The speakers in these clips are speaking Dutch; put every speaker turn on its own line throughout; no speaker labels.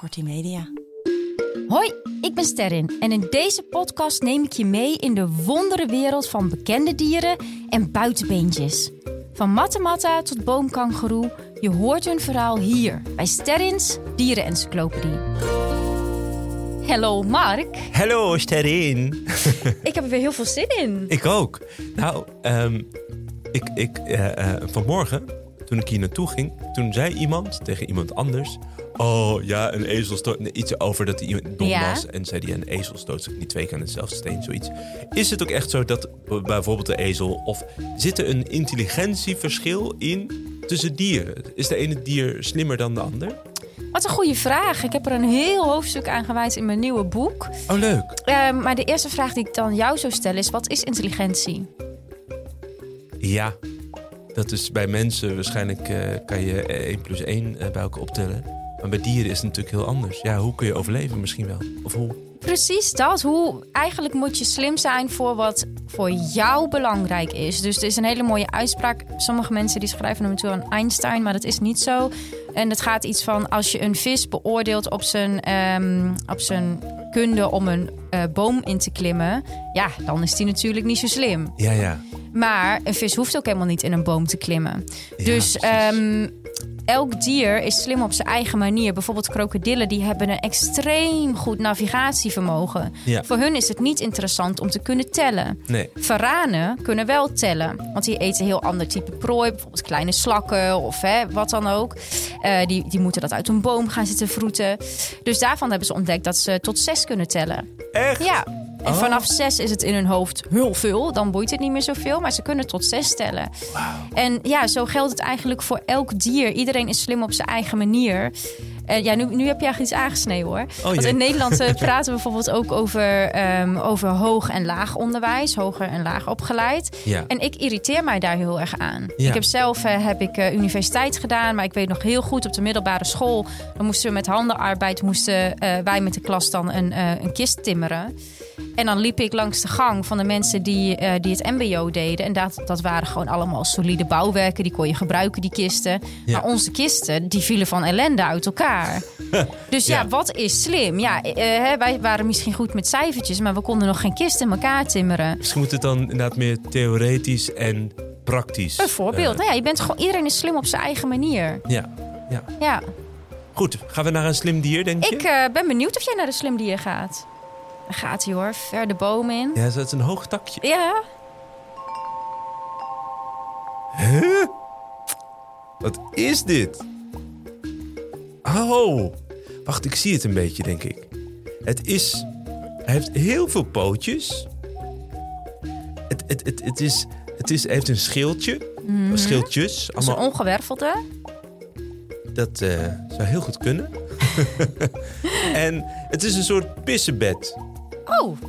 Multimedia.
Hoi, ik ben Sterrin en in deze podcast neem ik je mee in de wondere wereld van bekende dieren en buitenbeentjes. Van mattematta tot boomkangeroe, je hoort hun verhaal hier bij Sterrins Dierenencyclopedie. Hallo Mark,
Hallo Sterrin.
ik heb er weer heel veel zin in.
Ik ook. Nou, ehm, ik, ik, eh, eh, vanmorgen, toen ik hier naartoe ging, toen zei iemand tegen iemand anders... Oh ja, een ezelstoot. nee, Iets over dat die iemand dom
Ja.
was. En zei die een ezel stoot zich niet twee keer aan dezelfde steen, zoiets. Is het ook echt zo dat b- bijvoorbeeld de ezel... Of zit er een intelligentieverschil in tussen dieren? Is de ene dier slimmer dan de ander?
Wat een goede vraag. Ik heb er een heel hoofdstuk aan gewijd in mijn nieuwe boek.
Oh, leuk.
Eh, maar de eerste vraag die ik dan jou zou stellen is, wat is intelligentie?
Ja, dat is bij mensen waarschijnlijk eh, kan je eh, 1 plus 1 eh, bij elkaar optellen. Maar bij dieren is het natuurlijk heel anders. Ja, hoe kun je overleven misschien wel? Of hoe?
Precies dat. Hoe, eigenlijk moet je slim zijn voor wat voor jou belangrijk is. Dus er is een hele mooie uitspraak. Sommige mensen die schrijven hem toe aan Einstein, maar dat is niet zo. En het gaat iets van als je een vis beoordeelt op zijn, ehm, op zijn kunde om een eh, boom in te klimmen, ja, dan is die natuurlijk niet zo slim.
Ja, ja.
Maar een vis hoeft ook helemaal niet in een boom te klimmen.
Ja,
dus
precies.
ehm, elk dier is slim op zijn eigen manier. Bijvoorbeeld krokodillen, die hebben een extreem goed navigatievermogen.
Ja.
Voor hun is het niet interessant om te kunnen tellen.
Nee.
Varanen kunnen wel tellen, want die eten heel ander type prooi. Bijvoorbeeld kleine slakken of hè, wat dan ook. Eh, die, die moeten dat uit een boom gaan zitten vroeten. Dus daarvan hebben ze ontdekt dat ze tot zes kunnen tellen.
Echt?
Ja. En
Oh.
vanaf zes is het in hun hoofd heel veel. Dan boeit het niet meer zoveel. Maar ze kunnen tot zes tellen. En ja, zo geldt het eigenlijk voor elk dier. Iedereen is slim op zijn eigen manier. En Eh, ja, nu, nu heb je eigenlijk iets aangesneden hoor. Want
jee.
in Nederland eh, praten we bijvoorbeeld ook over, ehm, over hoog en laag onderwijs. Hoger en laag opgeleid.
Ja.
En ik irriteer mij daar heel erg aan.
Ja.
Ik heb zelf eh, heb ik, eh, universiteit gedaan, maar ik weet nog heel goed op de middelbare school. Dan moesten we met handenarbeid, moesten eh, wij met de klas dan een, eh, een kist timmeren. En dan liep ik langs de gang van de mensen die, eh, die het MBO deden. En dat, dat waren gewoon allemaal solide bouwwerken. Die kon je gebruiken, die kisten.
Ja.
Maar onze kisten, die vielen van ellende uit elkaar. dus ja,
Ja.
wat is slim? Ja, eh, hè, wij waren misschien goed met cijfertjes, maar we konden nog geen kist in elkaar timmeren.
Misschien moet het dan inderdaad meer theoretisch en praktisch.
Een voorbeeld. nou ja, je bent gewoon, iedereen is slim op zijn eigen manier.
Eh, ja. ja.
Ja.
Goed, gaan we naar een slim dier, denk je?
Ik eh, ben benieuwd of jij naar de slim dier gaat. Daar gaat hij hoor, ver de boom in.
Ja, dat is een hoog takje.
Ja,
Wat is dit? Oh, wacht, ik zie het een beetje, denk ik. Het is. Hij heeft heel veel pootjes. Het, het, het, het, is, het is. Hij heeft een schildje. Schildjes.
Mhm. dat is een
Allemaal,
ongewervelde.
dat eh, zou heel goed kunnen. en het is een soort pissenbed.
Oh,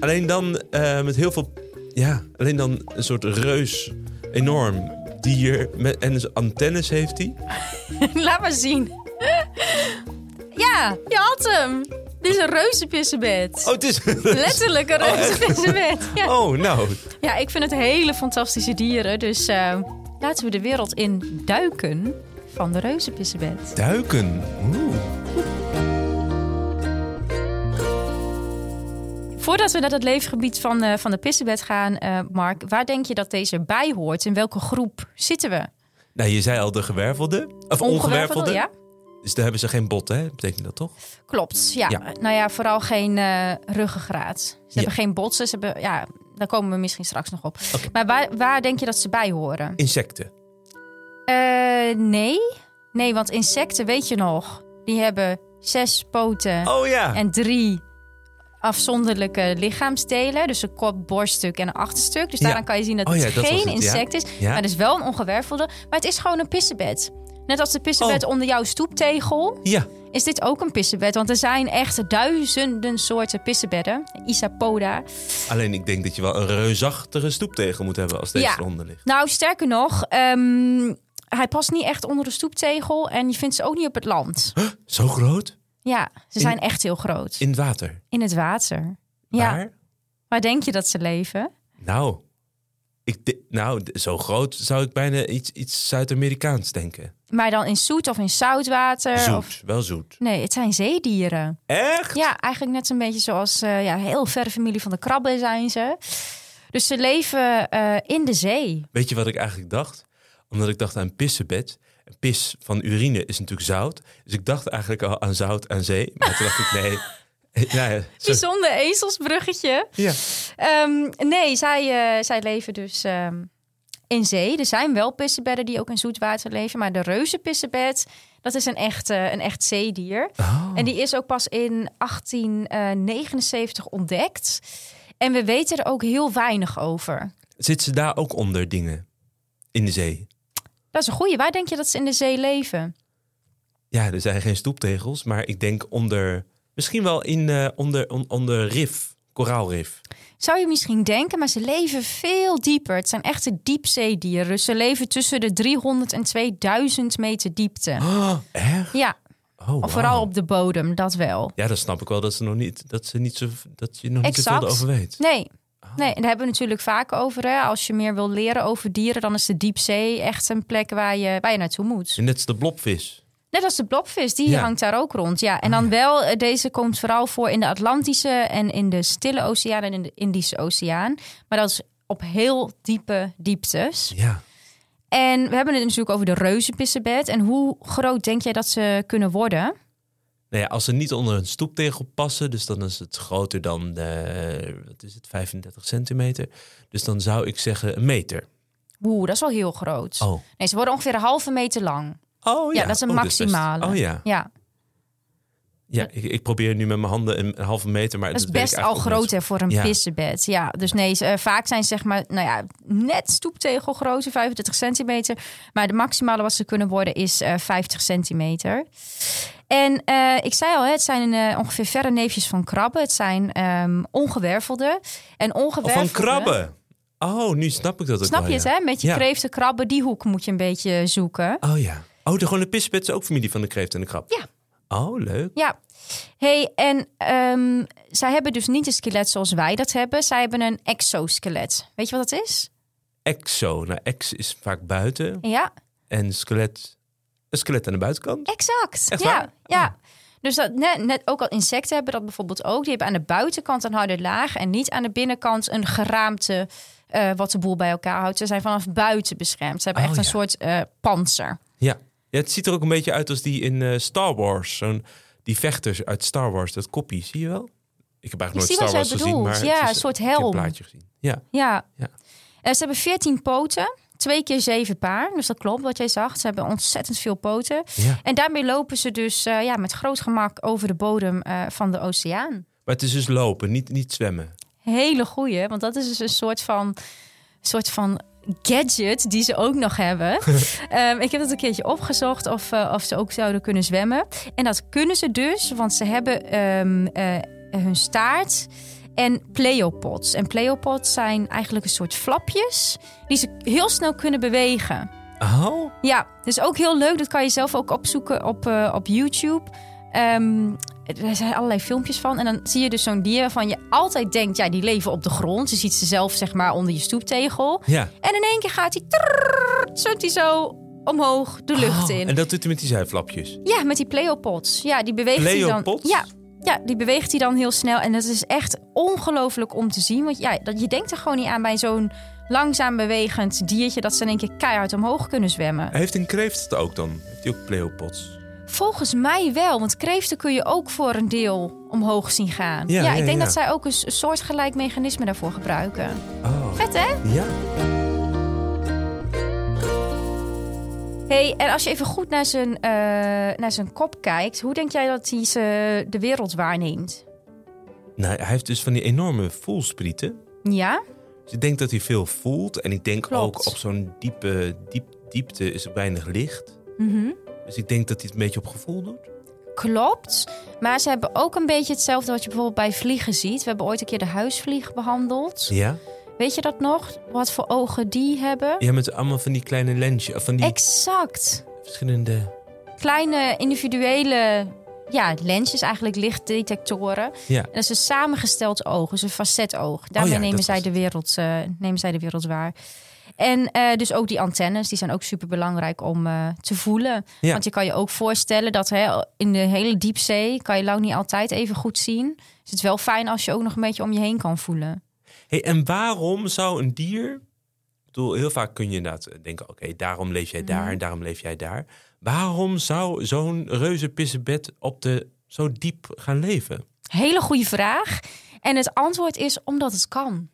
Alleen dan eh, met heel veel. Ja, alleen dan een soort reus. Enorm dier. Met, en antennes heeft hij.
laat maar zien. ja, je had hem. Dit is een reuzenpissenbed.
Oh, het is.
Letterlijk een reuzenpissenbed. Ja.
Oh, nou.
ja, ik vind het hele fantastische dieren. Dus eh, laten we de wereld in duiken van de reuzenpissenbed.
Duiken. Oeh.
Voordat we naar dat leefgebied van, eh, van de pissebed gaan, eh, Mark, waar denk je dat deze bij hoort? In welke groep zitten we?
Nou, je zei al de gewervelde. Of ongewervelde.
ja?
Dus daar hebben ze geen botten, hè? Betekent dat toch?
Klopt, ja.
Ja.
Nou ja, vooral geen eh, ruggengraat. Ze hebben geen botsen, ze hebben, ja, daar komen we misschien straks nog op.
Oké.
Maar waar, waar denk je dat ze bij horen?
Insecten.
Eh, nee. Nee, want insecten, weet je nog, die hebben zes poten
Oh ja.
en drie afzonderlijke lichaamsdelen. Dus een kop, borststuk en een achterstuk. Dus
Ja.
daaraan kan je zien dat
Oh ja,
het
dat was
geen
het, ja.
insect is.
Ja.
Maar het is wel een ongewervelde. Maar het is gewoon een pissebed. Net als de pissebed
Oh.
onder jouw stoeptegel,
Ja.
is dit ook een pissebed. Want er zijn echt duizenden soorten pissebedden. Isapoda.
Alleen ik denk dat je wel een reusachtige stoeptegel moet hebben als deze
Ja.
eronder ligt.
Nou, sterker nog, ehm, hij past niet echt onder de stoeptegel. En je vindt ze ook niet op het land.
Zo groot?
Ja, ze
In-
zijn echt heel groot.
In het water.
In het water. Ja,
Waar?
waar denk je dat ze leven?
Nou, Ik, de- nou, d- zo groot zou ik bijna iets, iets Zuid-Amerikaans denken.
Maar dan in zoet of in zoutwater?
zoet,
Eh, Of...
wel zoet.
Nee, het zijn zeedieren.
Echt?
Ja, eigenlijk net zo'n beetje zoals eh, ja, heel verre familie van de krabben zijn ze. Dus ze leven eh, in de zee.
Weet je wat ik eigenlijk dacht? Omdat ik dacht aan pissenbed. En Pis van urine is natuurlijk zout. Dus ik dacht eigenlijk al aan zout aan zee. Maar toen dacht ik, nee. Ja, ja, zo-
Bijzonder ezelsbruggetje.
ja.
Ehm, nee, zij, eh, zij leven dus ehm, in zee. Er zijn wel pissenbedden die ook in zoetwater leven. Maar de reuzenpissenbed, dat is een echt, eh, een echt zeedier.
Oh.
En die is ook pas in 1879 ontdekt. En we weten er ook heel weinig over.
Zit ze daar ook onder dingen? In de zee?
Dat is een goeie. Waar denk je dat ze in de zee leven?
Ja, er zijn geen stoeptegels. Maar ik denk onder... Misschien wel in, eh, onder, on- onder rif. Koraalrif.
Zou je misschien denken, maar ze leven veel dieper. Het zijn echte diepzeedieren. Dus ze leven tussen de 300 en 2000 meter diepte.
Oh, echt?
Ja,
Oh,
of
wauw.
vooral op de bodem, dat wel.
Ja, dan snap ik wel dat, ze nog niet, dat, ze niet zo, dat je nog niet
Exact.
zoveel erover weet.
Nee.
Oh.
Nee, en daar hebben we natuurlijk vaak over. Hè. Als je meer wil leren over dieren, dan is de diepzee echt een plek waar je, waar je naartoe moet.
Net als de blobvis.
Net als de blobvis, die
Ja. Ah,
hangt daar ook rond. Ja, en dan wel, eh, deze komt vooral voor in de Atlantische en in de Stille Oceaan en in de Indische Oceaan. Maar dat is op heel diepe dieptes.
Ja.
En we hebben het natuurlijk over de reuzenpissenbed. En hoe groot denk jij dat ze kunnen worden?
Nou ja, als ze niet onder een stoeptegel passen, dus dan is het groter dan, eh, wat is het, 35 centimeter. Dus dan zou ik zeggen een meter.
Oeh, dat is wel heel groot.
Oh,
Nee, ze worden ongeveer een halve meter lang.
oh ja.
Ja, dat is een
Oh, best-
maximale.
Oh ja.
Ja,
ja ik, ik probeer nu met mijn handen een, een halve meter, maar
dat is
weet
best
ik
al
eigenlijk ook
groot hè, voor een
Ja.
pissenbed. Ja, dus nee, ze- eh, vaak zijn ze zeg maar, nou ja, net stoeptegelgrootte, 35 centimeter. Maar de maximale wat ze kunnen worden is eh, 50 centimeter. En eh, ik zei al, hè, het zijn eh, ongeveer verre neefjes van krabben. Het zijn ehm, ongewervelde. En
niet.
ongewervelde...
Of van krabben. Oh, nu snap ik dat ook
Snap
wel,
je het,
ja.
hè? Met je
Ja.
kreeften, krabben, die hoek moet je een beetje zoeken.
Oh ja. Oh, de, gewoon de pissenbed is ook familie van de kreeft en de krab.
Ja.
Oh, leuk.
Ja. hey, en ehm, zij hebben dus niet een skelet zoals wij dat hebben. Zij hebben een exoskelet. Weet je wat dat is?
Exo. Nou, ex is vaak buiten
Ja,
en skelet, een skelet aan de buitenkant.
exact.
Echt
ja,
waar? Oh.
ja. Dus dat net, net ook al insecten hebben dat bijvoorbeeld ook. Die hebben aan de buitenkant een harde laag en niet aan de binnenkant een geraamte eh, wat de boel bij elkaar houdt. Ze zijn vanaf buiten beschermd. Ze hebben
Oh,
echt een
ja.
soort eh, panzer.
Ja. ja, het ziet er ook een beetje uit als die in eh, Star Wars. Zo'n, die vechters uit Star Wars, dat kopje, zie je wel? Ik heb
Ik
eigenlijk nooit
zie
Star
wat jij
Wars gezien,
bedoelt.
maar het
Ja,
is- eh,
een soort
ik heb een
helm.
plaatje gezien. Ja,
Ja.
Ja.
Eh, ze hebben 14 poten, twee keer zeven paar. Dus dat klopt wat jij zag. Ze hebben ontzettend veel poten.
ja.
En daarmee lopen ze dus eh, ja, met groot gemak over de bodem eh, van de oceaan.
Maar het is dus lopen, niet, niet zwemmen.
Hele goeie, want dat is dus een soort van, soort van gadget die ze ook nog hebben. Ehm, ik heb dat een keertje opgezocht of, eh, of ze ook zouden kunnen zwemmen. En dat kunnen ze dus, want ze hebben ehm, eh, hun staart en pleopods. En pleopods zijn eigenlijk een soort flapjes die ze heel snel kunnen bewegen.
Oh,
Ja, dus ook heel leuk. Dat kan je zelf ook opzoeken op, eh, op YouTube. Ehm, er zijn allerlei filmpjes van. En dan zie je dus zo'n dier waarvan je altijd denkt... ja, die leven op de grond. Je ziet ze zelf zeg maar onder je stoeptegel.
ja.
En in één keer gaat hij... trrrr, zwemt hij zo omhoog de lucht
Oh,
in.
En dat doet hij met die zijflapjes.
Ja, met die pleopods. Ja, die beweegt hij
Pleopods?
dan... Ja, ja, die beweegt hij dan heel snel. En dat is echt ongelooflijk om te zien. Want ja, dat, je denkt er gewoon niet aan bij zo'n langzaam bewegend diertje... dat ze in één keer keihard omhoog kunnen zwemmen.
Heeft een kreeft het ook dan? Heeft hij ook pleopods?
Volgens mij wel, want kreeften kun je ook voor een deel omhoog zien gaan.
Ja,
Ja,
ja,
ik denk
ja.
dat zij ook een s- soortgelijk mechanisme daarvoor gebruiken.
Oh,
Vet hè?
ja.
hey, en als je even goed naar zijn, eh, naar zijn kop kijkt, hoe denk jij dat hij ze de wereld waarneemt?
Nou, hij heeft dus van die enorme voelsprieten.
Ja?
Dus ik denk dat hij veel voelt. En ik denk ook
Klopt.
op zo'n diepe diep, diepte is er weinig licht.
Mhm.
Dus ik denk dat hij het een beetje op gevoel doet.
Klopt. Maar ze hebben ook een beetje hetzelfde wat je bijvoorbeeld bij vliegen ziet. We hebben ooit een keer de huisvlieg behandeld.
Ja.
Weet je dat nog? Wat voor ogen die hebben?
Ja, met allemaal van die kleine lensjes. Van die
Exact.
verschillende...
kleine individuele Ja, lensjes, eigenlijk lichtdetectoren.
Ja. Oh
En dat is een samengesteld oog, dus een facetoog. Daarmee
ja,
nemen,
dat
zij
was
de wereld, eh, nemen zij de wereld waar. En eh, dus ook die antennes, die zijn ook super belangrijk om eh, te voelen.
Ja.
Want je kan je ook voorstellen dat hè, in de hele diepzee kan je lang niet altijd even goed zien. Dus het is wel fijn als je ook nog een beetje om je heen kan voelen.
Hey, en waarom zou een dier... Ik bedoel, heel vaak kun je inderdaad denken... oké, daarom leef jij daar en daarom leef jij daar. Waarom zou zo'n reuzenpissebed op de, zo diep gaan leven?
Hele goede vraag. En het antwoord is omdat het kan.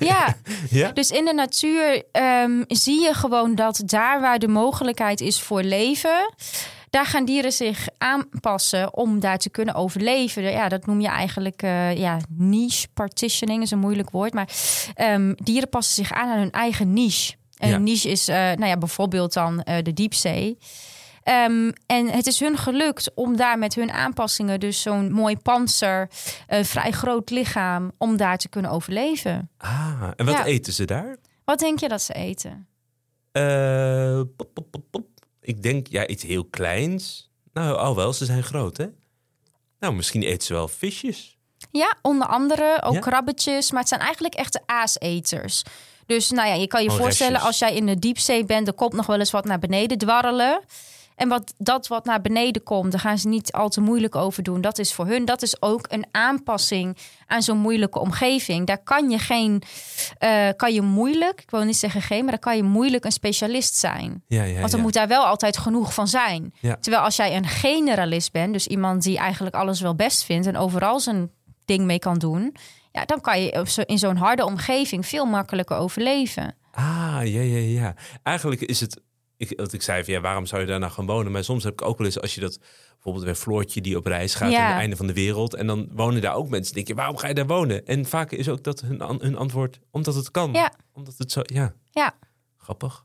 ja,
Ja?
dus in de natuur ehm, zie je gewoon dat daar waar de mogelijkheid is voor leven, daar gaan dieren zich aanpassen om daar te kunnen overleven. Ja, dat noem je eigenlijk eh, ja, niche partitioning, is een moeilijk woord. Maar ehm, dieren passen zich aan aan hun eigen niche. Een
Ja.
niche is eh, nou ja, bijvoorbeeld dan eh, de diepzee. Ehm, en het is hun gelukt om daar met hun aanpassingen, dus zo'n mooi panzer, een vrij groot lichaam, om daar te kunnen overleven.
Ah, en wat
Ja.
eten ze daar?
Wat denk je dat ze eten?
Eh, pop, pop, pop, pop. Ik denk, ja, iets heel kleins. Nou, al wel, ze zijn groot, hè? Nou, misschien eten ze wel visjes.
Ja, onder andere ook
Ja.
krabbetjes, maar het zijn eigenlijk echte aaseters. Dus nou ja, je kan je
Oh,
voorstellen
restjes.
als jij in de diepzee bent, er komt nog wel eens wat naar beneden dwarrelen. En wat, dat wat naar beneden komt, daar gaan ze niet al te moeilijk over doen. Dat is voor hun, dat is ook een aanpassing aan zo'n moeilijke omgeving. Daar kan je geen, eh, kan je moeilijk, ik wil niet zeggen geen, maar daar kan je moeilijk een specialist zijn.
Ja, ja,
Want er
ja.
moet daar wel altijd genoeg van zijn.
Ja.
Terwijl als jij een generalist bent, dus iemand die eigenlijk alles wel best vindt en overal zijn ding mee kan doen, ja, dan kan je op zo- in zo'n harde omgeving veel makkelijker overleven.
Ah, ja, ja, ja. Eigenlijk is het... Ik, wat ik zei van, ja, waarom zou je daar nou gaan wonen? Maar soms heb ik ook wel eens, als je dat... Bijvoorbeeld bij Floortje die op reis gaat
Ja.
aan het einde van de wereld. En dan wonen daar ook mensen. denk je, waarom ga je daar wonen? En vaak is ook dat hun, an- hun antwoord, omdat het kan.
Ja.
Omdat het zo... Ja,
Ja.
grappig.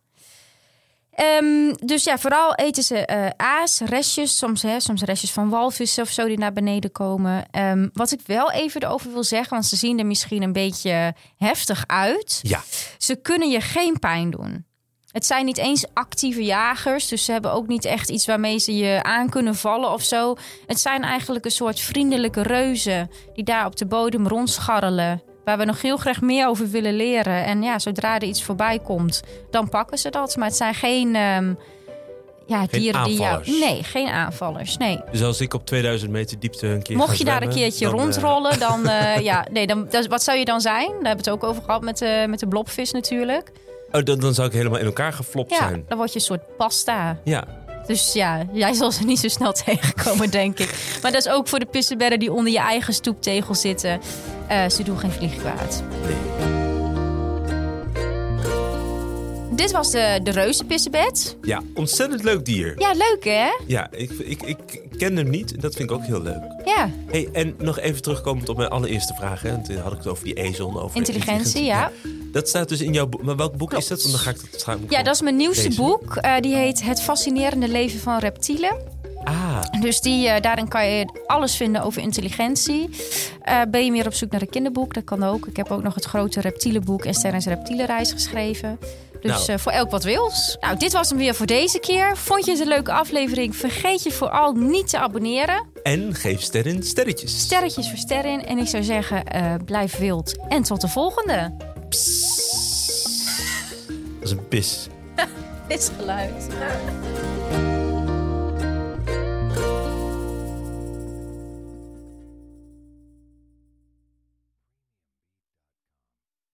Ehm, dus ja, vooral eten ze eh, aas, restjes, soms, hè, soms restjes van walvissen of zo die naar beneden komen. Ehm, wat ik wel even erover wil zeggen, want ze zien er misschien een beetje heftig uit.
Ja.
Ze kunnen je geen pijn doen. Het zijn niet eens actieve jagers, dus ze hebben ook niet echt iets waarmee ze je aan kunnen vallen of zo. Het zijn eigenlijk een soort vriendelijke reuzen die daar op de bodem rondscharrelen. Waar we nog heel graag meer over willen leren. En ja, zodra er iets voorbij komt, dan pakken ze dat. Maar het zijn geen, ehm, ja, dieren die
aanvallers.
jou. Nee, geen aanvallers. Nee.
Dus als ik op 2000 meter diepte een keer ga
Mocht je daar een
zwemmen,
keertje
dan, eh,
rondrollen, dan, eh, ja, nee, dan, dat- wat zou je dan zijn? Daar hebben we het ook over gehad met, eh, met de blobvis natuurlijk.
oh, dan, dan zou ik helemaal in elkaar geflopt
Ja,
zijn.
dan word je een soort pasta.
Ja.
Dus ja, jij zal ze niet zo snel tegenkomen, denk ik. Maar dat is ook voor de pissenbedden die onder je eigen stoeptegel zitten. Eh, ze doen geen vliegkwaad. Dit was de, de reuzenpissenbed.
Ja, ontzettend leuk dier.
Ja, leuk hè?
Ja, ik, ik, ik ken hem niet. en Dat vind ik ook heel leuk.
Ja,
Hey, en nog even terugkomend op mijn allereerste vraag. Hè? Want Toen had ik het over die ezel en over
Intelligentie,
de Dat staat dus in jouw boek. Maar welk boek is dat? Want dan ga ik dat straks...
ja dat is mijn nieuwste
Deze.
boek. Eh, die heet Het fascinerende leven van reptielen.
Ah,
Dus die, eh, daarin kan je alles vinden over intelligentie. Eh, ben je meer op zoek naar een kinderboek? Dat kan ook. Ik heb ook nog het grote reptielenboek en Sterren's reptielenreis geschreven. Dus
Nou.
eh, voor elk wat wils. Nou, dit was hem weer voor deze keer. Vond je het een leuke aflevering? Vergeet je vooral niet te abonneren.
en geef sterren sterretjes.
Sterretjes voor sterren. En ik zou zeggen, eh, blijf wild. En tot de volgende.
Dat is een pis.
Dit is geluid.